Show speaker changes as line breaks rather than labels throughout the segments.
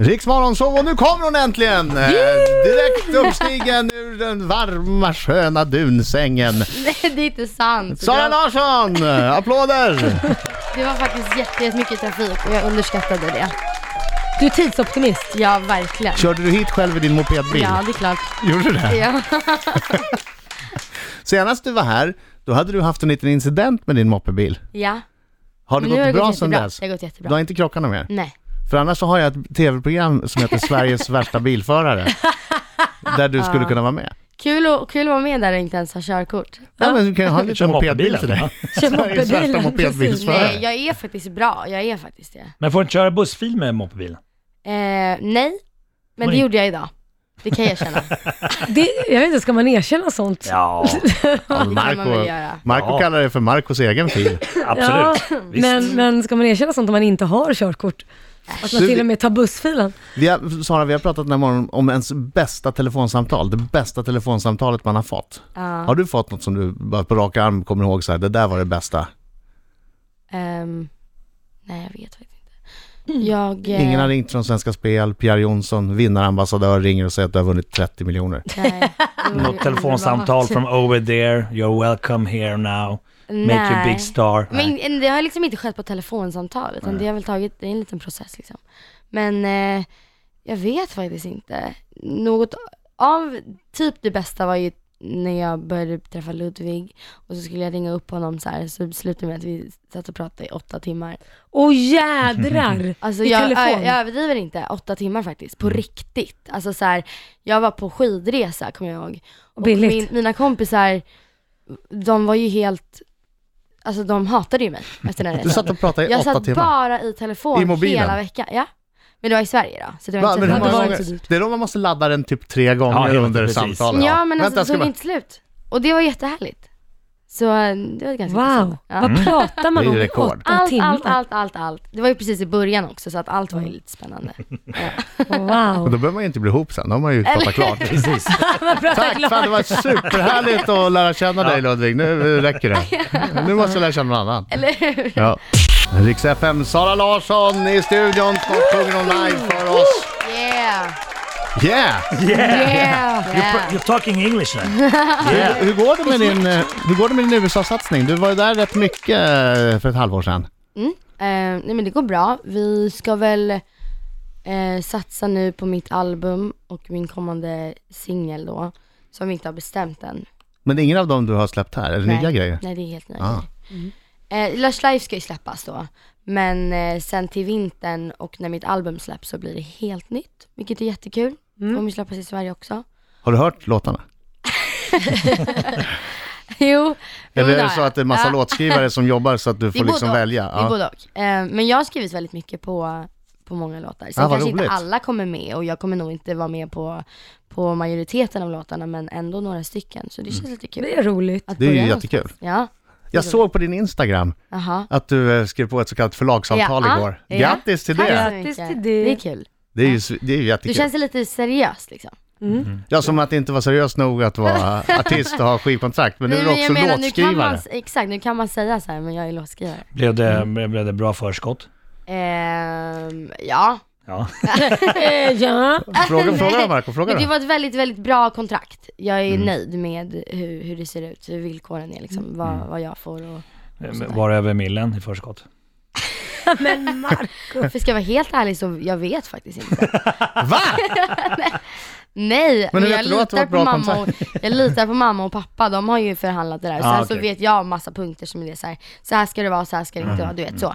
Riksmorgonshow och nu kommer hon äntligen! Eh, Direkt uppstigen ur den varma sköna dunsängen.
Nej, det är inte sant.
Sara
Det var-
Larsson! eh, Applåder!
Det var faktiskt jätte- jättemycket trafik och jag underskattade det.
Du är tidsoptimist.
Ja, verkligen.
Körde du hit själv i din mopedbil?
Ja, det är klart.
Gjorde du det?
Ja.
Senast du var här, då hade du haft en liten incident med din moppebil.
ja.
Har det
Men nu
gått
har det
bra
gått
sedan
jättebra.
dess?
Det har gått
Du
Mm. jättebra.
har inte krockat någon mer?
Nej.
För annars så har jag ett tv-program som heter Sveriges värsta bilförare. Där du skulle kunna vara med.
Kul, och, kul att vara med där och inte ens ha körkort.
Ja, men du kan ju ha en liten
Kör
mopedbil
mopedbilen,
till dig.
Kör
Sveriges värsta
mopedbilen. precis.
mopedbilsförare.
Nej, jag är faktiskt bra. Jag är faktiskt det.
Men får du inte köra bussfil med moppebilen?
Eh, nej, men det
Oj.
gjorde jag idag. Det kan jag erkänna.
Det, jag vet inte, ska man erkänna sånt?
Ja,
Ja,
Det kan man väl
Marco,
göra.
Marco
Ja.
kallar det för Marcos egen fil.
absolut.
Ja,
Visst.
men, men ska man erkänna sånt om man inte har körkort?
Äh,
Att man
Du-
till och med tar bussfilen?
Vi har, Sara, vi har pratat den här morgonen om ens bästa telefonsamtal. Det bästa telefonsamtalet man har fått.
Ja.
Har du fått något som du bara på rak arm kommer ihåg så här, det där var det bästa?
Ehm, nej, jag vet faktiskt inte. Jag... eh,
Mm. Ingen har ringt från Svenska Spel, Pierre Jonsson, vinnarambassadör, ringer och säger att du har vunnit 30 miljoner.
nej.
Något telefonsamtal från over there, you're welcome here now, make you
Nej.
big star. Nej.
Men det har liksom inte skett på telefonsamtal, utan det har väl tagit, det är en liten process liksom. Men eh, jag vet faktiskt inte. Något av, typ det bästa var ju när jag började träffa Ludvig och så skulle jag ringa upp honom så här, så slutade med att vi satt och pratade i åtta timmar.
Åh jädrar!
Alltså
I
jag,
telefon?
jag, jag överdriver inte, åtta timmar faktiskt,
Mm.
på riktigt. Alltså så här, jag var på skidresa kommer jag ihåg. Och
billigt.
min, mina kompisar, de var ju helt, alltså de hatade ju mig efter den
Du
resan.
satt och pratade i
Jag
Eh, åtta
satt
timmar.
bara i telefon
I mobilen?
hela veckan. Ja. Men det var i typ Sverige då, så det var
Va,
inte
men
så,
hur
det
många
var
gånger,
inte så dyrt.
det är då man måste ladda den typ tre
Ja,
gånger
helt
under
precis.
samtalen.
Ja men
Vänta,
alltså
jag
det
ska
tog
bara...
inte slut. Och det var jättehärligt. Så eh, det var ganska
Wow,
intressant. Ja. Mm.
vad pratar man
Det är
om i
rekord.
åtta
Allt,
timmar?
allt, allt, allt, allt. Det var ju precis i början också så att allt var ju lite spännande.
Och
Wow.
då behöver man ju inte bli ihop sen, då har man ju pratat klart.
Precis.
Tack, fan, det var superhärligt att lära känna dig Ludvig. Nu eh, räcker det. Nu måste jag lära känna någon annan. Eller hur? Ja. Rix FM, Sara Larsson i studion. Snart sjunger hon live för oss.
Yeah!
Yeah!
Yeah!
You're, you're talking English now. Yeah.
Hur går det med din, eh, hur går det med din USA-satsning? Du var ju där rätt mycket eh, för ett halvår sedan.
Eh, nej men det går bra. Vi ska väl eh, satsa nu på mitt album och min kommande singel då. Som vi inte har bestämt än.
Men det är ingen av dem du har släppt här, eller nya grejer?
Nej, det är helt nya
Ah.
grejer. Eh, Lush Life ska ju släppas då. Men eh, sen till vintern och när mitt album släpps så blir det helt nytt. Vilket är jättekul.
Mm.
Kommer ju släppas i Sverige också.
Har du hört låtarna?
jo.
Eller är
jo,
det
har
så
jag.
att det är massa
Ja.
låtskrivare som jobbar så att du
Det är
får liksom
både och.
välja?
Det är
Ja.
både och. Eh, men jag har skrivit väldigt mycket på, på många låtar. Sen
Ah, vad
kanske
roligt.
inte alla kommer med och jag kommer nog inte vara med på, på majoriteten av låtarna men ändå några stycken. Så det känns lite kul.
Det är roligt.
Att
Mm. Det är ju
börja
jättekul.
någonstans. Ja,
Jag såg på din Instagram
aha.
att du eh, skrev på ett så kallat förlagsavtal
Ja.
igår.
Ja.
Grattis till
Tack
det!
så
Grattis
mycket.
till det.
Det är kul.
Det är ju, s- det är ju
Du
jättekul.
känns lite seriös liksom.
Ja, som att det inte var seriöst nog att vara artist och ha skivkontrakt, men nu är du
Nej, men
också
jag menar, nu kan
låtskrivare.
man, exakt, nu kan man säga så här, men jag är låtskrivare.
Blev det, blev det bra förskott?
Ehm, ja.
Ja.
Eh, ja.
Fråga,
Nej.
fråga Mm. då Marco, fråga
Men det
då.
var ett väldigt, väldigt bra kontrakt. Jag är nöjd med hur, hur det ser ut, hur villkoren är liksom,
Mm.
vad, vad jag får och...
Var över millen i förskott?
Men Mark,
För ska jag vara helt ärlig så, jag vet faktiskt inte.
Va?
Nej,
Men
men,
hur
jag,
vet du då att det var
litar
ett bra
på mamma och, jag litar på mamma och pappa, de har ju förhandlat det där. Sen
Ah,
så
okej.
vet jag massa punkter som är det så här, så här ska det vara, så här ska det
Mm.
inte vara, du vet så.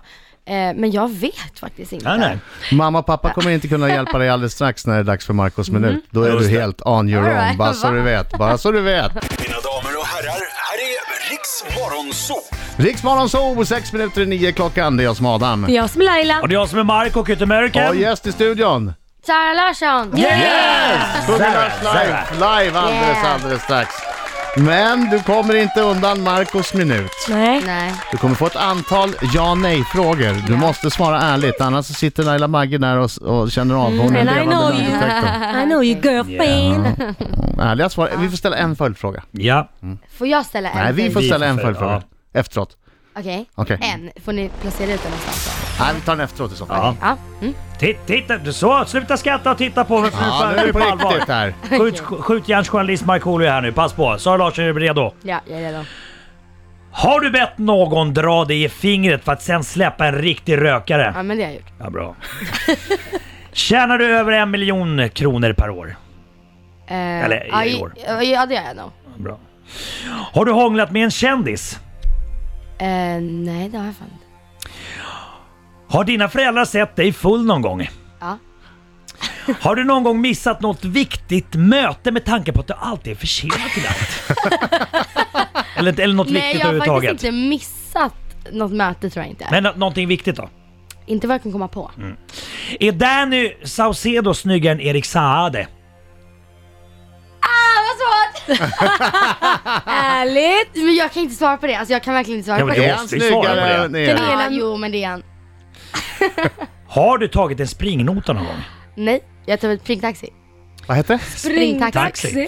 Eh, men jag vet faktiskt inte.
Ah,
Nej, nej.
Mamma och pappa kommer inte kunna hjälpa dig alldeles strax när det är dags för Marcos minut. Då är
Just
du
det.
helt on your
Mm. All
own,
right,
bara så
va?
du vet. Bara så du vet.
Mina damer och herrar, här är Riks Morgonzoo!
Riksmorgon Zoo, sex minuter i nio klockan. Det är jag som är Adam.
det är jag som är Laila.
Och det är jag som är Mark och Ute American.
Och gäst i studion.
Sara Larsson!
Yes! Sjunger
Sarah,
Lars live, live alldeles,
Yeah.
alldeles strax. Men du kommer inte undan Marcos minut.
Nej.
Nej.
Du kommer få ett antal ja nej-frågor. Du måste svara ärligt, annars så sitter Laila Magge där och, och känner av. Hon är
And I know
levande
you.
lögndetektor.
I know you girlfriend.
Ärliga svar. Vi får ställa en följdfråga.
Ja.
Får jag ställa en?
Nej, vi får
Vi
ställa
får
en
ställa-
följdfråga. Efteråt.
Okej.
Okej.
En. Får ni placera ut den någonstans då?
Nej, vi tar den efteråt i så fall.
Ja.
Ja. Mm.
Titt, titta, du- så, sluta skatta och titta på
Ja,
för fan,
nu är det på
allvar.
riktigt här.
Skjut, skjutjärnsjournalist Markoolio här nu, pass på. Sara Larsson, är du redo?
Ja, jag är redo.
Har du bett någon dra dig i fingret för att sen släppa en riktig rökare?
Ja, men det har jag gjort.
Ja, bra. Tjänar du över en miljon kronor per år?
Eh,
Eller i
ja, i-
år.
Ja, det gör jag nog.
Bra. Har du hånglat med en kändis?
Eh, nej, det har jag fan inte.
Har dina föräldrar sett dig full någon gång?
Ja.
Har du någon gång missat något viktigt möte med tanke på att du alltid är försenad till allt? eller, eller något
Nej,
viktigt
jag har faktiskt
överhuvudtaget?
inte missat något möte tror jag inte.
Men nå- någonting viktigt då?
Inte vad jag kan komma på.
Mm. Är Danny Saucedo snyggare än Erik Saade?
Ah, vad svårt! Ärligt? Men jag kan inte svara på det. Alltså jag kan verkligen inte svara
Ja,
på
men
det.
det
Är
måste
han
vi svara på
snyggare
det.
än Erik?
Ja, jo men det är han.
Har du tagit en springnota någon gång?
Nej, jag tar väl springtaxi.
Vad heter det?
Taxi.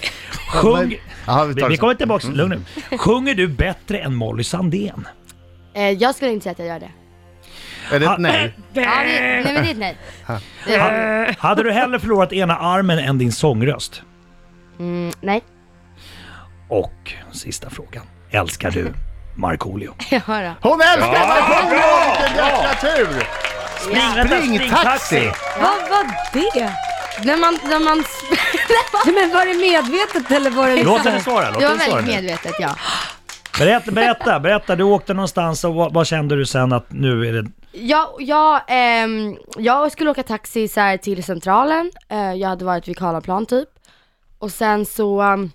Sjung...
Jaha, vi
Vi,
tar
vi
det
kommer
sen.
tillbaka, lugn nu. Sjunger du bättre än Molly Sandén?
Eh, jag skulle inte säga att jag gör det.
Är det ett nej?
Ja, det nej men det är ett nej. Det är-
Ha- Hade du hellre förlorat ena armen än din sångröst?
Mm, nej,
Och sista frågan. Älskar du Markoolio?
jag hör det.
Hon älskar Markoolio!
bra,
Vilken jäkla tur!
Spring, vänta,
Springtaxi!
Vad var det?
När man, när man... sp-
Nej, men var det medvetet eller var det
Låt
liksom...
henne svara.
Det
Låt
var
henne svara
väldigt
nu.
medvetet ja.
Berätta, berätta, berätta. Du åkte någonstans och vad, vad kände du sen att nu är det...
Jag, jag, ehm, jag skulle åka taxi så här till centralen, Eh, jag hade varit vid Karlaplan typ. Och sen så, ehm,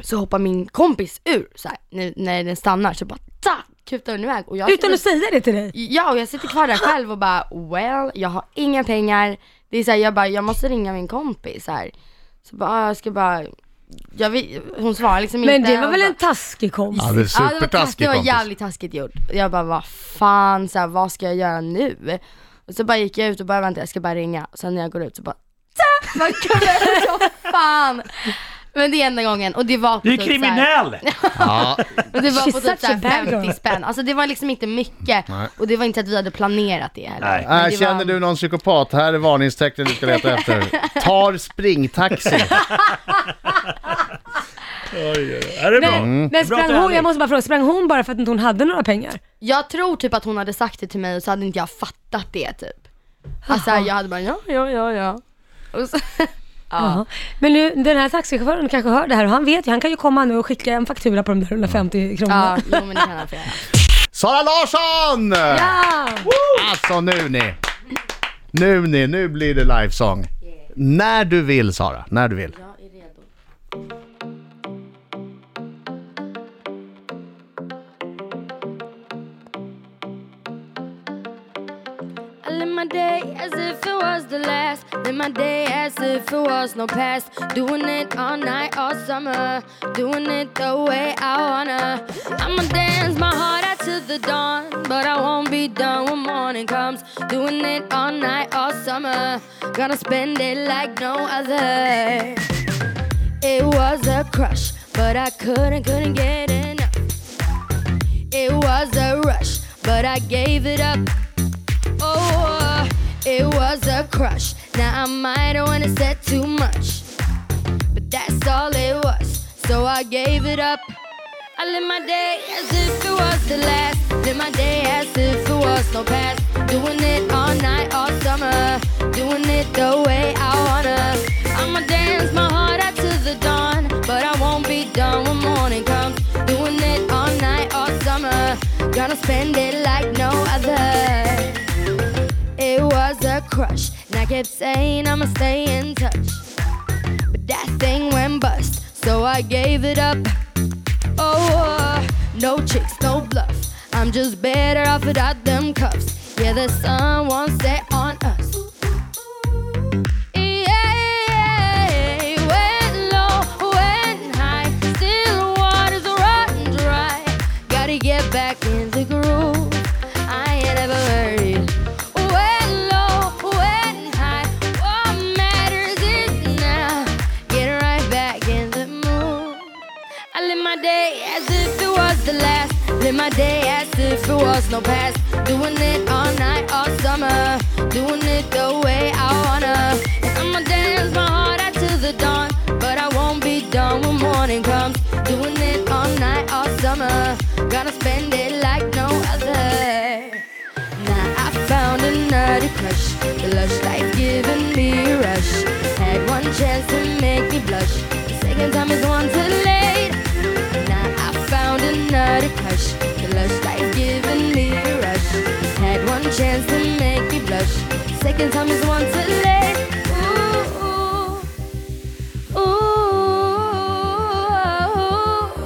så hoppar min kompis ur så här, när, när den stannar så bara ta, kutar den iväg. Och jag
Utan att säga det till dig?
Ja, och jag sitter kvar där själv och bara well, jag har inga pengar. Det är så här, jag bara, jag måste ringa min kompis så här. Så bara, ah, jag ska bara, jag vet, hon svarar liksom
Men
inte.
det var
Hon
väl
bara-
en taskig kompis?
Ja, det är
det var, taskigt,
supertaskig
det var
kompis.
jävligt taskigt gjort. Jag bara, vad fan, så här, vad ska jag göra nu? Och så bara gick jag ut och bara, vänta jag ska bara ringa. Och sen när jag går ut så bara, "Tja!" vad kul, så fan. Men det är enda gången och det var på
Du är
typ så här-
kriminell!
Ja,
Och det var
She's
på typ
such
så här
a bad girl.
50 spänn. Alltså det var liksom inte mycket
Nej.
och det var inte att vi hade planerat det heller.
Nej.
Men
Äh,
det
känner
var-
du någon psykopat? Här är varningstecknet du ska leta efter. Tar springtaxi.
Är det bra?
Men,
Mm.
men
Bra att
sprang
du är
hon,
ärlig.
jag måste bara fråga, sprang hon bara för att inte hon hade några pengar?
Jag tror typ att hon hade sagt det till mig och så hade inte jag fattat det typ. Alltså jag hade bara ja, ja, ja, ja. Och så, ja.
Jaha. Men nu, den här taxichauffören kanske hör det här och han vet ju, han kan ju komma nu och skicka en faktura på de där 150 kronorna.
Ja, jo men det kan han få göra.
Sara Larsson! Alltså nu ni. Nu ni, nu blir det livesång. När du vill Sara, när du vill.
Jag är redo. I live my day as if it was the last. Live my day as if it was no past. Doing it all night, all summer. Doing it the way I wanna. I'ma dance my heart out to the dawn. But I won't be done when morning comes. Doing it all night, all summer. Gonna spend it like no other. It was a crush, but I couldn't, couldn't get enough. It was a rush, but I gave it up. Oh, it was a crush. Now I might have wanna said too much, but that's all it was. So I gave it up. I live my day as if it was the last. Live my day as if it was no past. Doing it all night, all summer. Doing it the way I wanna. I'ma dance my heart out to the dawn. But I won't be done when morning comes. Doing it all night, all summer. Gonna spend it like no other. It was a crush, and I kept saying I'ma stay in touch. But that thing went bust, so I gave it up. Oh, uh, no tricks, no bluff. I'm just better off without them cuffs. Yeah, the sun won't set on us. Yeah, went low, went high, still waters run dry. Gotta get back in the groove. I ain't ever worried. Went low, went high, what matters is now. Getting right back in the mood. I live my day as if it was the last. Live Live my day as if it was no past. Doing it all night, all summer. Doing it the way I wanna. And I'ma dance my heart out to the dawn. But I won't be done when morning comes. Doing it all night, all summer. Gonna spend it like no other. Now I found another crush. The lush life giving me a rush. Had one chance to make me blush. The second time is one too late. Now I found another crush. The lush life giving me a rush. Had one chance to make me blush. Second time is one too late. Ooh, ooh, ooh,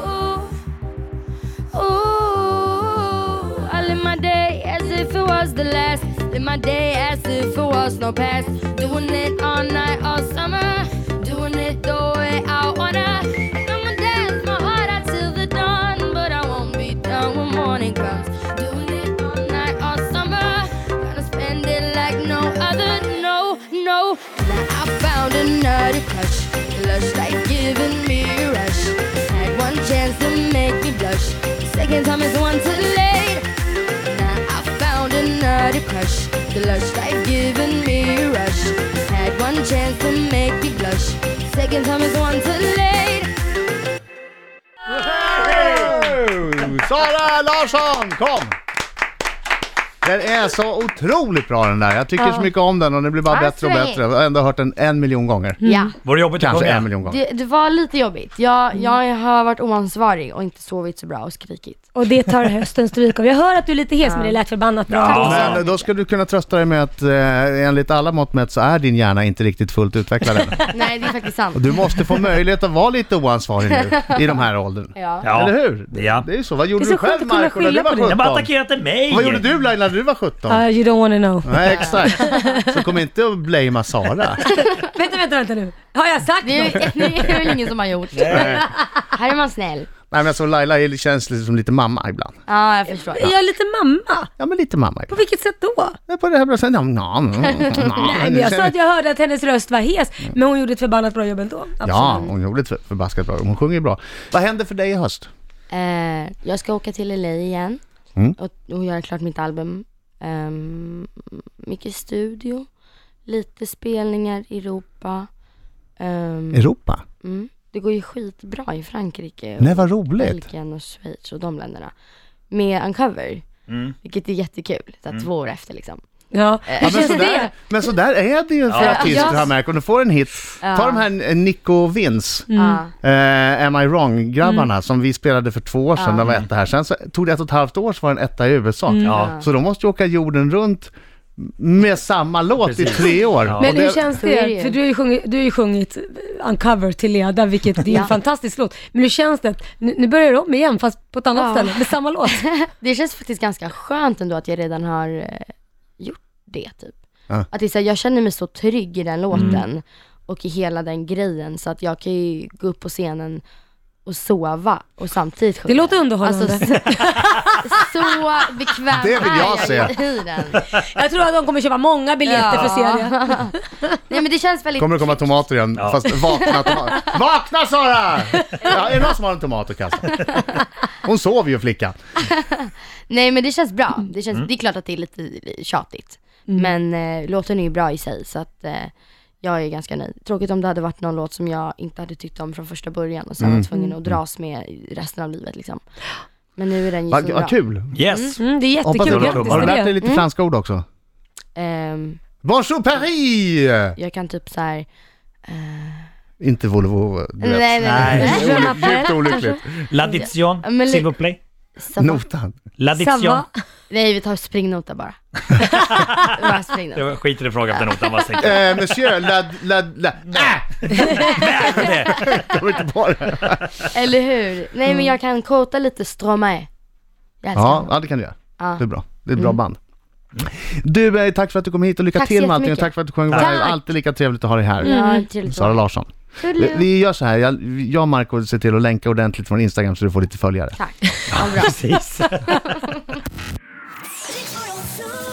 ooh. Ooh, I live my day as if it was the last. Live my day as if it was no past. Doing it all night, all summer. Doing it the way I wanna. And I'ma dance my heart out till the dawn. But I won't be done when morning comes. Doing it all night, all summer. Gonna spend it like no other. No, no. Now I found another crush. Lush like giving me a rush. Had one chance to make me blush. Second time is one too late. Now I found another crush. The lush life giving me a rush. Had one chance to make me blush. Second time is one too late.
Sara Larsson, kom! Den är så otroligt bra den där. Jag tycker så mycket om den och den blir bara
Ja,
bättre och
säg.
bättre. Jag har ändå hört den en miljon gånger.
Mm. Ja.
Var det jobbigt att
Kanske en
sjunga?
miljon gånger.
Det, det var lite jobbigt. Jag,
Mm.
jag har varit oansvarig och inte sovit så bra och skrikit.
Och det tar hösten stryk av. Jag hör att du är lite hes, men det lät förbannat bra.
Ja.
Men då skulle du kunna trösta dig med att eh, enligt alla mått mätt så är din hjärna inte riktigt fullt utvecklad än.
Nej, det är faktiskt sant.
Och du måste få möjlighet att vara lite oansvarig nu i de här åldern.
Ja.
Ja.
Eller hur?
Ja.
Det är ju så. Vad gjorde
Det är
du
så skönt
själv
att kunna
Marko när du
skilja
var
på det.
17?
De har attackerat mig!
Vad gjorde du Laila när du var 17?
Uh, you don't wanna know.
Nej exakt. Så kom inte och blamea Sara.
vänta, vänta, vänta nu. Har jag sagt
Det
något?
är, det är väl ingen som har gjort.
Eh,
Här är man snäll.
Nej men alltså Laila är- känns lite som lite mamma ibland.
Ja, jag förstår.
Är jag lite mamma?
Ja men lite mamma
På
ibland.
vilket sätt då?
Ja, På det här bröstet, ja, ja,
Nej, men jag sa att jag hörde att hennes röst var hes, men hon gjorde ett förbannat bra jobb ändå. Absolut.
Ja, hon gjorde ett för- förbaskat bra. Hon sjunger bra. Vad händer för dig i höst?
Eh, jag ska åka till LA igen
Mm.
och, och göra klart mitt album. Um, mycket studio, lite spelningar i Europa. Ehm,
Europa?
mm. Det går ju skitbra i Frankrike och
Nej vad roligt.
Belgien och Schweiz och de länderna. Med Uncover,
Mm.
vilket är jättekul. Så här, Två år efter liksom.
Ja.
Ja,
Eh,
men, sådär, men sådär är det ju för
Ja.
artister har
Ja.
jag märkt. Om du får en hit, ta
Ja.
de här eh, Nico Vins.
Mm.
ja.
Eh, Am I wrong-grabbarna som vi spelade för två år sedan, de var etta här. Sen så tog det ett och ett halvt år så var den etta i USA.
Ja.
Så de måste ju åka jorden runt med samma låt i
Precis.
tre år.
Ja.
Och
Men
det-
hur känns
Så är det
det?
ju.
För du har ju sjungit, du har ju sjungit Uncover till Leda, vilket det är en
Ja.
fantastisk låt. Men hur känns det? Nu, nu börjar du om igen, fast på ett annat
Ja.
ställe, med samma låt.
Det känns faktiskt ganska skönt ändå att jag redan har eh, gjort det typ.
Ja.
Att det är så här, jag känner mig så trygg i den låten och i hela den grejen så att jag kan ju gå upp på scenen och sova och samtidigt sjunga.
Det låter underhållande.
Alltså, så, så bekväm
Det vill jag
är
se.
i den.
Jag tror att de kommer köpa många biljetter för att se det.
Nej men det känns väldigt
Kommer det komma tomater igen?
Ja.
Fast vakna tomater. Vakna Sara! Ja, är det någon som har en tomat att kasta? Hon sover ju flickan.
Nej men det känns bra. Det,
Mm.
känns, det är klart att det är lite tjatigt. Men eh, låten är ju bra i sig så att eh, jag är ganska nöjd. Tråkigt om det hade varit någon låt som jag inte hade tyckt om från första början och sen var tvungen att dras med resten av livet liksom. Men nu är den ju så
Vad
bra.
vad kul!
Yes!
Mm, det är
Hoppas du
jättekul,
har-
grattis
Har du
till
lärt dig
det.
lite franska ord också?
Ehm,
Bonjour Paris!
jag kan typ så här.
Inte Volvo, du vet.
Nej, nej, nej.
Det är olyck- Djupt olyckligt.
L'addiction,
Mm. Men li-
s'il vous plaît.
Så,
Notan.
L'addiction.
Samma.
Nej vi tar springnota bara. bara springnota.
Jag skiter i frågan efter notan, vad säger
Eh, monsieur, la, la, la... Äh! Jag kommer inte på det.
Eller hur? Nej men jag kan kota lite Stromae. Jag älskar
Ja,
honom.
ja, det kan du göra.
Ja.
Det är bra. Det är ett bra band. Du, eh, Mm. tack för att du kom hit och lycka
Tack så
till med allting. Och
jättemycket.
tack Mm. för att du sjöng live.
Tack.
Alltid lika trevligt att ha dig här.
Ja, trevligt att
Sara
vara här.
Larsson. Vi,
Tullu.
vi gör så här, jag, jag och Marco ser till att länka ordentligt från Instagram så du får lite följare.
Tack. Ja, bra.
Precis.
Riks Morgonzoo.